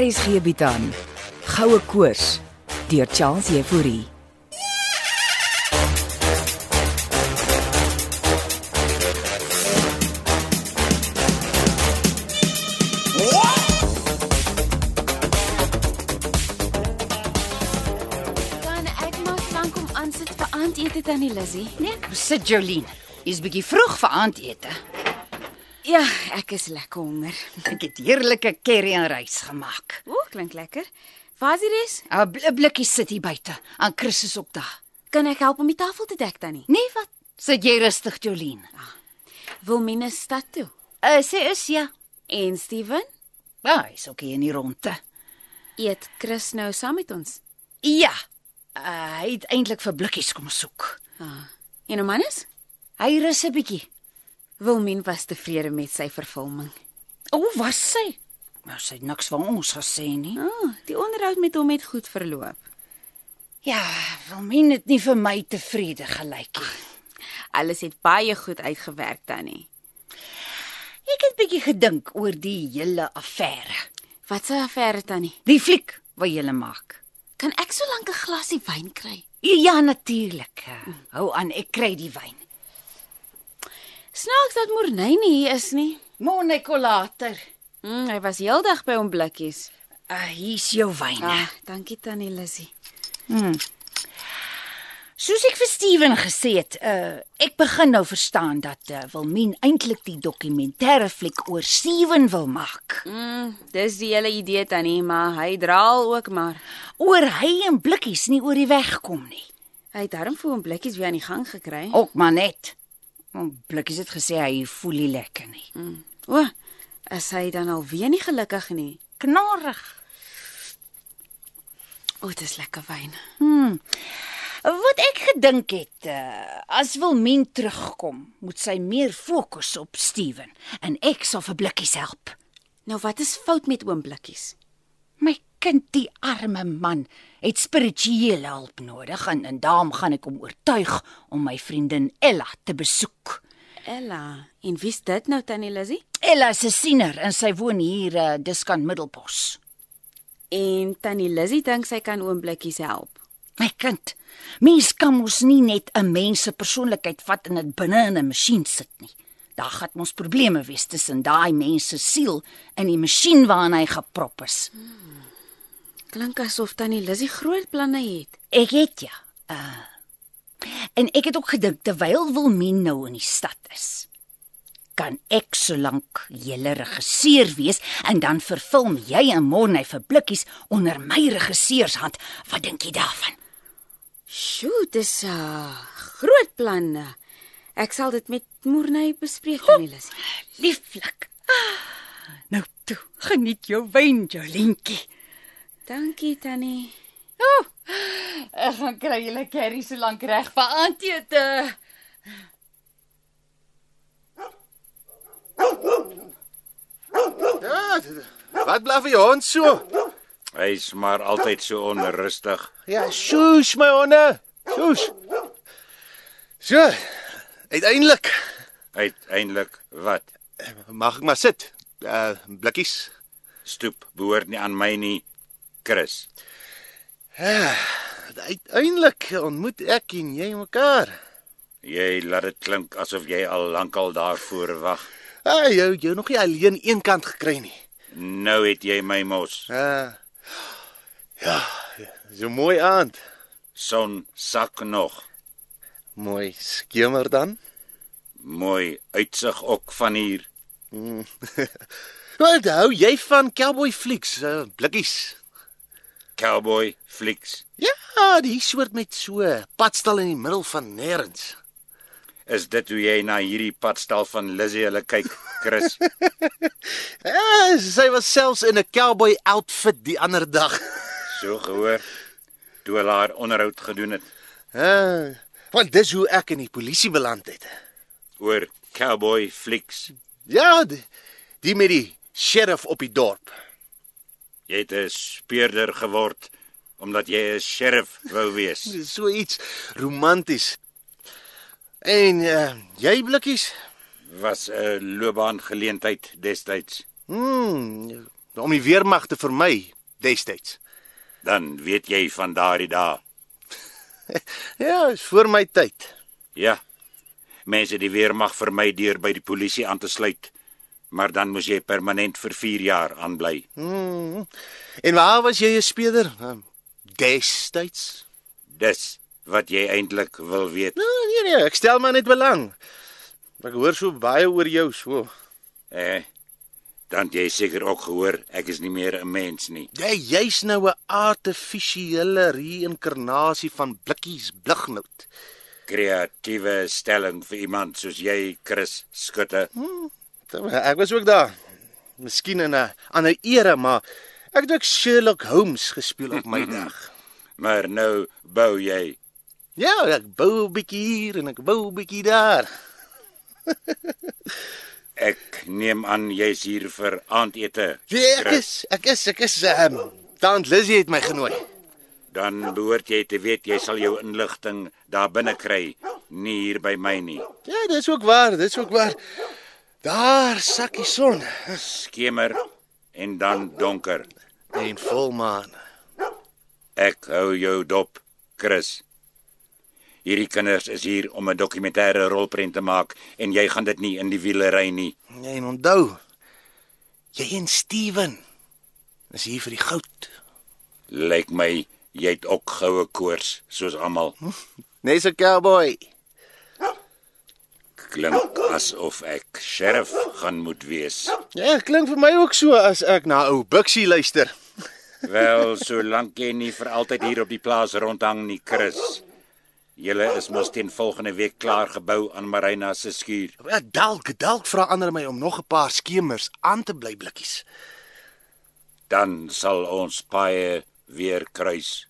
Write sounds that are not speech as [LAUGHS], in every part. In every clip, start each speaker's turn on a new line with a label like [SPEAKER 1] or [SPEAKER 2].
[SPEAKER 1] RSG bied aan Goue Koors deur Charles Jefouri.
[SPEAKER 2] Kan ek maar lank om aansit vir aandete tannie Lizzy? Nee.
[SPEAKER 3] Sit Jolien. Jy's bietjie vroeg vir aandete.
[SPEAKER 2] Ja, ek is lekker honger.
[SPEAKER 3] Ek het heerlike curry en rys gemaak.
[SPEAKER 2] O, klink lekker. Waar is die res?
[SPEAKER 3] 'n bl- 'n Blikkie sit hier buite aan Christus op daag.
[SPEAKER 2] Kan ek help om die tafel te dek tannie?
[SPEAKER 3] Nee, wat? Sit jy rustig, Jolien.
[SPEAKER 2] Wilmine is stad toe.
[SPEAKER 3] Uh, sy is ja.
[SPEAKER 2] En Steven
[SPEAKER 3] Ja, hy's ook hier in die ronde.
[SPEAKER 2] eet Chris nou saam met ons.
[SPEAKER 3] Ja. Uh, hy het eintlik vir blikkies kom soek.
[SPEAKER 2] Ah. En Omanus?
[SPEAKER 3] Hy rus 'n bietjie.
[SPEAKER 2] Wilmine was tevrede met sy vervulling.
[SPEAKER 3] O, was sy? Maar sy het niks van ons gesê nie.
[SPEAKER 2] O, oh, die onderhoud met hom het goed verloop.
[SPEAKER 3] Ja, Wilmien het nie vir my tevrede gelyk nie.
[SPEAKER 2] Alles het baie goed uitgewerk tannie.
[SPEAKER 3] Ek het bietjie gedink oor die hele affære.
[SPEAKER 2] Wat 'n affære tannie.
[SPEAKER 3] Die fliek wat jy maak.
[SPEAKER 2] Kan ek so lank 'n glasie wyn kry?
[SPEAKER 3] Ja, natuurlik. Hou aan, ek kry die wyn.
[SPEAKER 2] Snaaks dat Morney nie hier is nie.
[SPEAKER 3] Môre kom later.
[SPEAKER 2] Mm, hy was heeldag by hom blikkies.
[SPEAKER 3] Uh, hier's jou wyn.
[SPEAKER 2] Ah, dankie tannie Lissy.
[SPEAKER 3] Soos ek vir Steven gesê het, uh, ek begin nou verstaan dat uh, Wilmien eintlik die dokumentêre fliek oor Steven wil maak.
[SPEAKER 2] Mm, dis die hele idee tannie, maar hy draal ook maar.
[SPEAKER 3] Oor hy en blikkies nie oor die weg kom nie.
[SPEAKER 2] Hy het darm vir hom blikkies weer aan die gang gekry. O,
[SPEAKER 3] Ook maar net. Want blikkies het gesê hy voel nie lekker nie.
[SPEAKER 2] Mm. o is hy dan alweer nie gelukkig nie?
[SPEAKER 3] Knorrig.
[SPEAKER 2] O, dis lekker wyn.
[SPEAKER 3] Wat ek gedink het, uh, as Wilmien terugkom, moet sy meer fokus op Steven en ek sal vir Blikkies help.
[SPEAKER 2] Nou wat is fout met oom blikkies?
[SPEAKER 3] My kind, die arme man, het spirituele hulp nodig en en daarom gaan ek hom oortuig om my vriendin Ella te besoek.
[SPEAKER 2] Ella, en wie's dit nou tannie Lissy?
[SPEAKER 3] Ella is 'n siener en sy woon hier uh, diskant Middelbos.
[SPEAKER 2] En tannie Lissy dink sy kan oom blikkies help.
[SPEAKER 3] My kind, mens kan mos nie net 'n mens se persoonlikheid vat en dit binne in 'n masjien sit nie. Daar gaan ons probleme wees tussen daai mens se siel en die masjien waaraan hy geprop is.
[SPEAKER 2] Klink asof tannie Lissy groot planne het.
[SPEAKER 3] Ek het ja. Uh, en ek het ook gedink terwyl Wilmien nou in die stad is, kan ek solank julle regisseur wees en dan verfilm jy en Morne vir blikkies onder my regisseurshand. Wat dink jy daarvan?
[SPEAKER 2] Sjoe, dis 'n uh, groot planne. Ek sal dit met Morney bespreek, tannie Lissy.
[SPEAKER 3] Lieflik. Ah, Nou toe, geniet jou wyn, Jolientjie.
[SPEAKER 2] Dankie tannie.
[SPEAKER 3] Ek gaan kry julle curry so lank reg vir aandete.
[SPEAKER 4] Ja, d- wat blaf jy hond so?
[SPEAKER 5] Hy's maar altyd so onrustig.
[SPEAKER 4] Ja, sjoes my honde. Sjoes. So, uiteindelik
[SPEAKER 5] Uiteindelik wat?
[SPEAKER 4] mag ek maar sit. Uh blikkies.
[SPEAKER 5] Stoep behoort nie aan my nie, Chris.
[SPEAKER 4] Uiteindelik ontmoet ek en jy mekaar.
[SPEAKER 5] Jy laat dit klink asof jy al lankal daarvoor wag.
[SPEAKER 4] Ah, jy jy nog nie alleen een kant gekry nie.
[SPEAKER 5] Nou het jy my mos.
[SPEAKER 4] Uh Ja, so mooi aand.
[SPEAKER 5] Son sak nog.
[SPEAKER 4] Mooi skemer dan.
[SPEAKER 5] Mooi uitsig ook van hier.
[SPEAKER 4] Wat hou jy van cowboy flieks, uh, blikkies?
[SPEAKER 5] Cowboy flieks.
[SPEAKER 4] Ja, die soort met so padstal in die middel van nêrens.
[SPEAKER 5] Is dit hoe jy na hierdie padstal van Lizzie hulle kyk, Chris?
[SPEAKER 4] Ja, sy was selfs in 'n cowboy outfit die ander dag. [LAUGHS]
[SPEAKER 5] So gehoor. Toe hulle haar onderhoud gedoen het
[SPEAKER 4] Ja, want dis hoe ek in die polisie beland het.
[SPEAKER 5] oor cowboy flieks.
[SPEAKER 4] Ja, die, die met die sheriff op die dorp.
[SPEAKER 5] Jy het 'n speurder geword omdat jy 'n sheriff wou wees.
[SPEAKER 4] Dis so iets romanties. En uh, jy blikkies?
[SPEAKER 5] Was 'n loopbaangeleentheid destyds.
[SPEAKER 4] Hmm, om die weermag te vermy destyds.
[SPEAKER 5] Dan weet jy van daardie dae.
[SPEAKER 4] Ja, is voor my tyd.
[SPEAKER 5] Ja. Mense die weermag vermy deur by die polisie aan te sluit. Maar dan moes jy permanent vir 4 jaar aanbly.
[SPEAKER 4] Hmm. En waar was jy 'n speeder? Ehm, Destyds?
[SPEAKER 5] Dis wat jy eintlik wil weet.
[SPEAKER 4] Nee, nee nee, ek stel maar net belang. Ek hoor so baie oor jou, so.
[SPEAKER 5] Eh. Dan het jy seker ook gehoor ek is nie meer 'n mens nie.
[SPEAKER 4] Jy jy's nou 'n artifisiële reïnkarnasie van blikkies blignout.
[SPEAKER 5] Kreatiewe stelling vir iemand soos jy, Chris Skutte.
[SPEAKER 4] Ek was ook daar. Miskien in 'n ander era, maar ek het ook Sherlock Holmes gespeel op [LAUGHS] my dag.
[SPEAKER 5] Maar nou bou jy.
[SPEAKER 4] Ja, ek bou 'n bietjie hier en ek bou 'n bietjie daar.
[SPEAKER 5] Ek neem aan jy's hier vir aandete.
[SPEAKER 4] Ja, ek
[SPEAKER 5] Chris.
[SPEAKER 4] is ek is ek is um, Tant Lizzie het my genooi.
[SPEAKER 5] Dan behoort jy te weet jy sal jou inligting daar binne kry, nie hier by my nie.
[SPEAKER 4] Ja, dis ook waar, dis ook waar. Daar sakkie son
[SPEAKER 5] Skemer en dan donker.
[SPEAKER 4] en volmaan.
[SPEAKER 5] Ek hou jou dop, Chris. Hierdie kinders is hier om 'n dokumentêre rolprent te maak en jy gaan dit nie in die wiele ry nie.
[SPEAKER 4] Ja, En onthou, jy en Steven is hier vir die goud.
[SPEAKER 5] Lyk my jy het ook goue koors soos almal.
[SPEAKER 4] Nes 'n cowboy.
[SPEAKER 5] Klink asof ek sheriff gaan moet wees.
[SPEAKER 4] Ja, klink vir my ook so as ek na ou Bixie luister.
[SPEAKER 5] Wel, solank jy nie vir altyd hier op die plaas rondhang nie, Chris. Julle is mos teen volgende week klaar gebou aan Marina se skuur.
[SPEAKER 4] Ja, dalk, dalk vra ander my om nog 'n paar skemers aan te bly blikkies.
[SPEAKER 5] Dan sal ons paie weer kruis.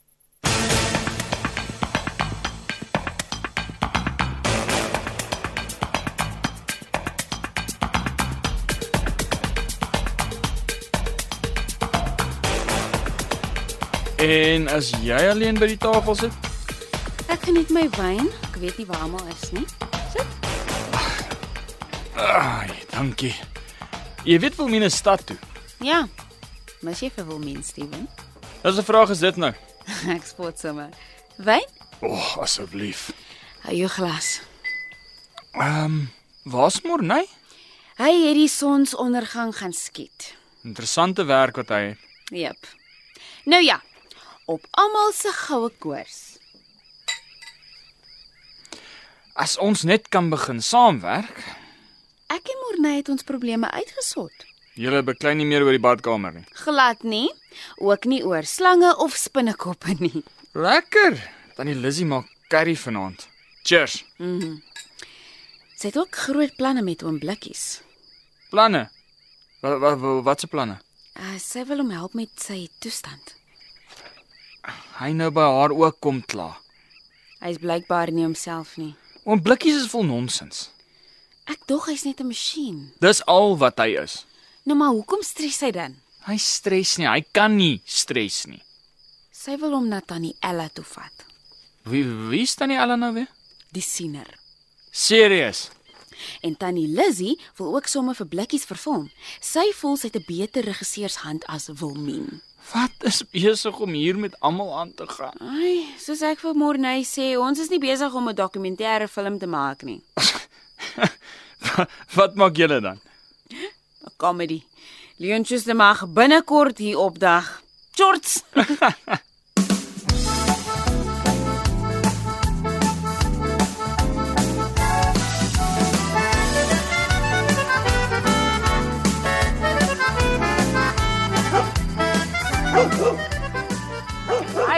[SPEAKER 6] En as jy alleen by die tafel sit,
[SPEAKER 2] Ek geniet my wyn. Ek weet nie waar almal is nie.
[SPEAKER 6] ai, dankie. Jy weet Wilmine stad toe.
[SPEAKER 2] Ja. Mas jy vir wil mens, Steven? [LAUGHS]
[SPEAKER 6] Dis 'n vraag is dit nou.
[SPEAKER 2] ek spot sommer. Wyn?
[SPEAKER 6] O, oh, asseblief.
[SPEAKER 2] Hou jou glas.
[SPEAKER 6] Ehm, um, waar's Morney?
[SPEAKER 2] Hy het die sonsondergang gaan skiet.
[SPEAKER 6] Interessante werk wat hy het.
[SPEAKER 2] Jep. Nou ja, op almal se goue koers.
[SPEAKER 6] As ons net kan begin saamwerk.
[SPEAKER 2] Ek en Morney het ons probleme uitgesort.
[SPEAKER 6] Julle beklei nie meer oor die badkamer nie.
[SPEAKER 2] Glad nie, ook nie oor slange of spinnekoppe nie.
[SPEAKER 6] Lekker. Tannie Lizzie maak curry vanaand. Cheers.
[SPEAKER 2] Sy het ook groot planne met oom Blikkies.
[SPEAKER 6] Planne. Wat wat wat se planne?
[SPEAKER 2] Uh, sy wil hom help met sy toestand.
[SPEAKER 6] Hy nou by haar ook kom klaar.
[SPEAKER 2] Hy is blykbaar nie homself nie.
[SPEAKER 6] Oom Blikkies is vol nonsens.
[SPEAKER 2] Ek dog hy's net 'n masjien.
[SPEAKER 6] Dis al wat hy is.
[SPEAKER 2] Nou maar hoekom stres hy dan?
[SPEAKER 6] Hy stres nie. Hy kan nie stres nie.
[SPEAKER 2] Sy wil hom na tannie Ella toe vat,
[SPEAKER 6] Wie wie is tannie Ella nou weer?
[SPEAKER 2] die siener.
[SPEAKER 6] Serius.
[SPEAKER 2] En tannie Lizzy wil ook sommer vir blikkies vervilm. Sy voel sy het 'n beter regisseurshand as Wilmien.
[SPEAKER 6] Wat is besig om hier met almal aan te gaan?
[SPEAKER 2] Ai, soos ek vir Morney sê, ons is nie besig om 'n dokumentêre film te maak nie.
[SPEAKER 6] wat maak julle dan?
[SPEAKER 2] 'n Comedy. Leontjies te mag binnekort hier opdag. Shorts.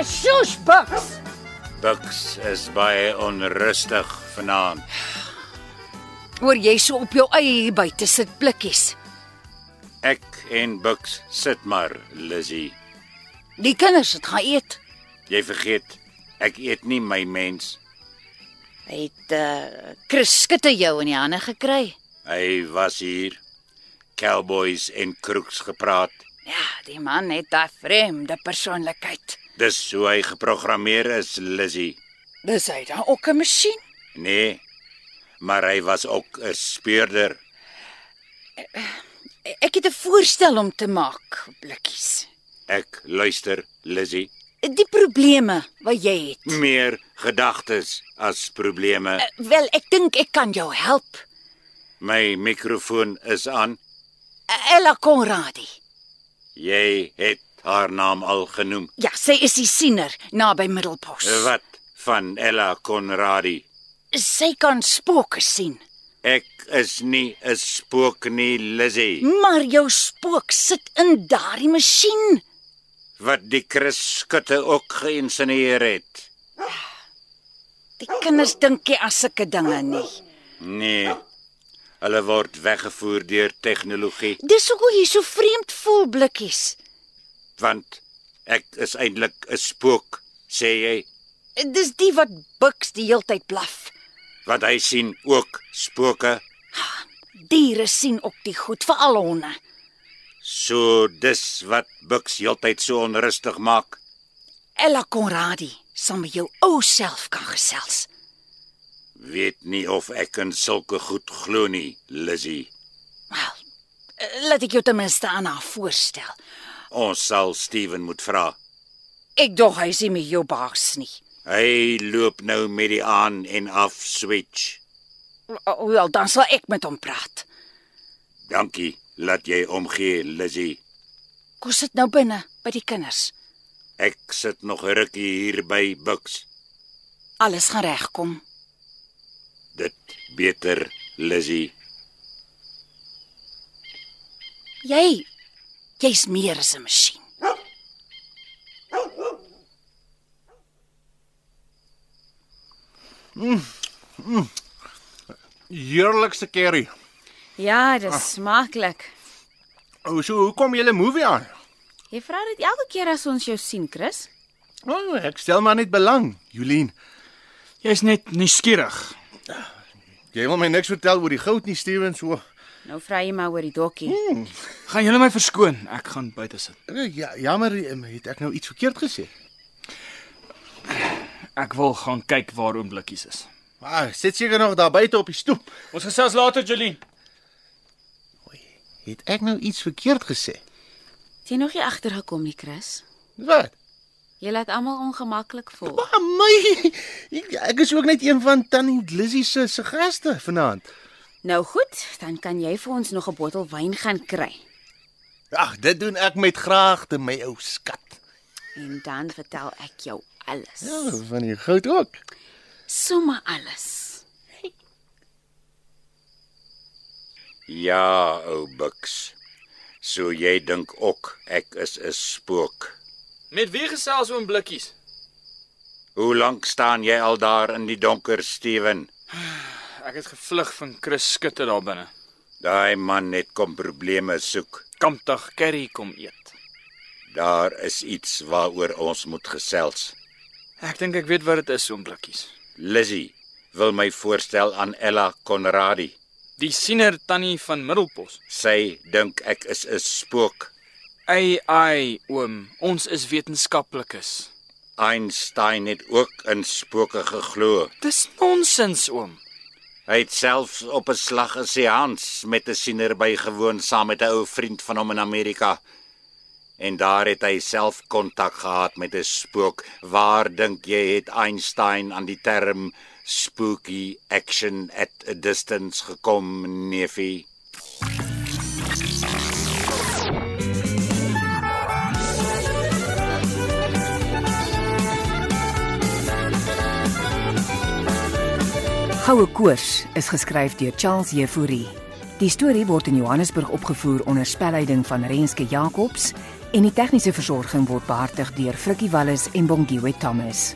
[SPEAKER 3] Ashush buks.
[SPEAKER 5] Bucks is baie onrustig vanaand.
[SPEAKER 3] Oor jy so op jou eie hier buite sit blikkies.
[SPEAKER 5] Ek en Bucks sit maar, Lizzy.
[SPEAKER 3] Die kinders het gaan eet.
[SPEAKER 5] Jy vergeet, ek eet nie my mens.
[SPEAKER 3] Het eh uh, Chris skitte jou in die hande gekry.
[SPEAKER 5] Hy was hier. Cowboys en kroeks gepraat.
[SPEAKER 3] Ja, die man het daai vreemde persoonlikheid.
[SPEAKER 5] Dis hoe hy geprogrammeer is, Lizzy.
[SPEAKER 3] Dis hy dan ook 'n masjien?
[SPEAKER 5] Nee. Maar hy was ook 'n speurder.
[SPEAKER 3] Ek het 'n voorstel om te maak, blikkies.
[SPEAKER 5] Ek luister, Lizzy.
[SPEAKER 3] Die probleme wat jy het. Eh,
[SPEAKER 5] Meer gedagtes as probleme.
[SPEAKER 3] Wel, ek dink ek kan jou help.
[SPEAKER 5] My mikrofoon is aan.
[SPEAKER 3] Ella Conradi.
[SPEAKER 5] Jy het haar naam al genoem.
[SPEAKER 3] Ja, sy is die siener naby Middelpos.
[SPEAKER 5] Ja, Wat van Ella Conradi?
[SPEAKER 3] Sy kan spooke sien,
[SPEAKER 5] Ek is nie 'n spook nie, Lizzy.
[SPEAKER 3] maar jou spook sit in daardie masjien.
[SPEAKER 5] Wat die Chris skutte ook geïnsinueer het.
[SPEAKER 3] Die kinders dink nie aan sulke dinge nie.
[SPEAKER 5] Nee. Hulle word weggevoer deur tegnologie.
[SPEAKER 3] Dis hoekom jy so vreemd voel, blikkies.
[SPEAKER 5] want ek is eintlik 'n spook, sê jy,
[SPEAKER 3] Dis die wat buks die heeltyd blaf.
[SPEAKER 5] want hy sien ook spooke.
[SPEAKER 3] Diere sien ook die goed, veral honde.
[SPEAKER 5] So dis wat Bux heeltyd so onrustig maak.
[SPEAKER 3] Ella Conradi sal met jou ou self kan gesels.
[SPEAKER 5] Weet nie of ek in sulke goed glo nie, Lizzy.
[SPEAKER 3] Wel, eh, laat ek jou ten minste aan haar voorstel.
[SPEAKER 5] Ons sal Steven moet vra.
[SPEAKER 3] Ek dog hy is nie met jou baas nie.
[SPEAKER 5] Hy loop nou met die aan en af switch.
[SPEAKER 3] O, Wel, dan sal ek met hom praat.
[SPEAKER 5] Dankie dat jy omgee, Lizzy.
[SPEAKER 3] Kom sit nou binne by die kinders.
[SPEAKER 5] Ek sit nog 'n rukkie hier by Bux.
[SPEAKER 3] Alles gaan regkom.
[SPEAKER 5] Dit beter, Lizzy.
[SPEAKER 3] Jy jy's meer as 'n masjien.
[SPEAKER 4] Heerlikste curry.
[SPEAKER 2] Ja, dis smaaklik.
[SPEAKER 4] O, so hoekom jy 'n movie aan?
[SPEAKER 2] Jy vra dit elke keer as ons jou sien, Chris.
[SPEAKER 4] O, oh, ek stel maar net belang, Julien.
[SPEAKER 6] Jy's net nuuskierig.
[SPEAKER 4] Jy wil my niks vertel oor die goud nie, Steven, so.
[SPEAKER 2] Nou vra jy maar oor die dokkie.
[SPEAKER 6] Gaan julle my verskoon? Ek gaan buite sit.
[SPEAKER 4] Ja, jammer, em, het ek nou iets verkeerd gesê?
[SPEAKER 6] Ek wil gaan kyk waar oom blikkies is.
[SPEAKER 4] Maar sit seker nog daar buite op die stoep.
[SPEAKER 6] Ons gesels later, Jolien.
[SPEAKER 4] Het ek nou iets verkeerd gesê?
[SPEAKER 2] Het jy nog nie agtergekom nie, Chris?
[SPEAKER 4] Wat?
[SPEAKER 2] Jy laat almal ongemaklik voel.
[SPEAKER 4] Maar my, ek- ek is ook net een van Tannie Lizzy se se gaste vanaand.
[SPEAKER 2] Nou goed, dan kan jy vir ons nog 'n bottel wyn gaan kry.
[SPEAKER 4] Ag, dit doen ek met graagte, my ou skat.
[SPEAKER 2] En dan vertel ek jou alles.
[SPEAKER 4] Ja, van die goud ook.
[SPEAKER 2] Somme alles.
[SPEAKER 5] Ja, ou Bux. So jy dink ook ek is 'n spook.
[SPEAKER 6] Met wie gesels oom blikkies?
[SPEAKER 5] Hoe lank staan jy al daar in die donker, Steven?
[SPEAKER 6] Ek het gevlug van Chris skutte daar binne.
[SPEAKER 5] Daai man het kom probleme soek.
[SPEAKER 6] Kampdag curry kom eet.
[SPEAKER 5] Daar is iets waaroor ons moet gesels.
[SPEAKER 6] Ek dink ek weet wat dit is oom blikkies.
[SPEAKER 5] Lizzy wil my voorstel aan Ella Conradi.
[SPEAKER 6] Die siener tannie van Middelpos.
[SPEAKER 5] Sy dink ek is 'n spook.
[SPEAKER 6] Ai ai oom, ons is wetenskaplikes.
[SPEAKER 5] Einstein het ook in spooke geglo.
[SPEAKER 6] Dis nonsens oom.
[SPEAKER 5] Hy het self op 'n slag 'n seans met 'n siener bygewoon saam met 'n ou vriend van hom in Amerika. En daar het hy self kontak gehad met 'n spook. Waar dink jy het Einstein aan die term spooky action at a distance gekom, neefie?
[SPEAKER 1] Goue Koors is geskryf deur Charles Jefouri. Die storie word in Johannesburg opgevoer onder spelleiding van Renske Jacobs en die tegniese versorging word behartig deur Frikkie Wallis en Bongwe Thomas.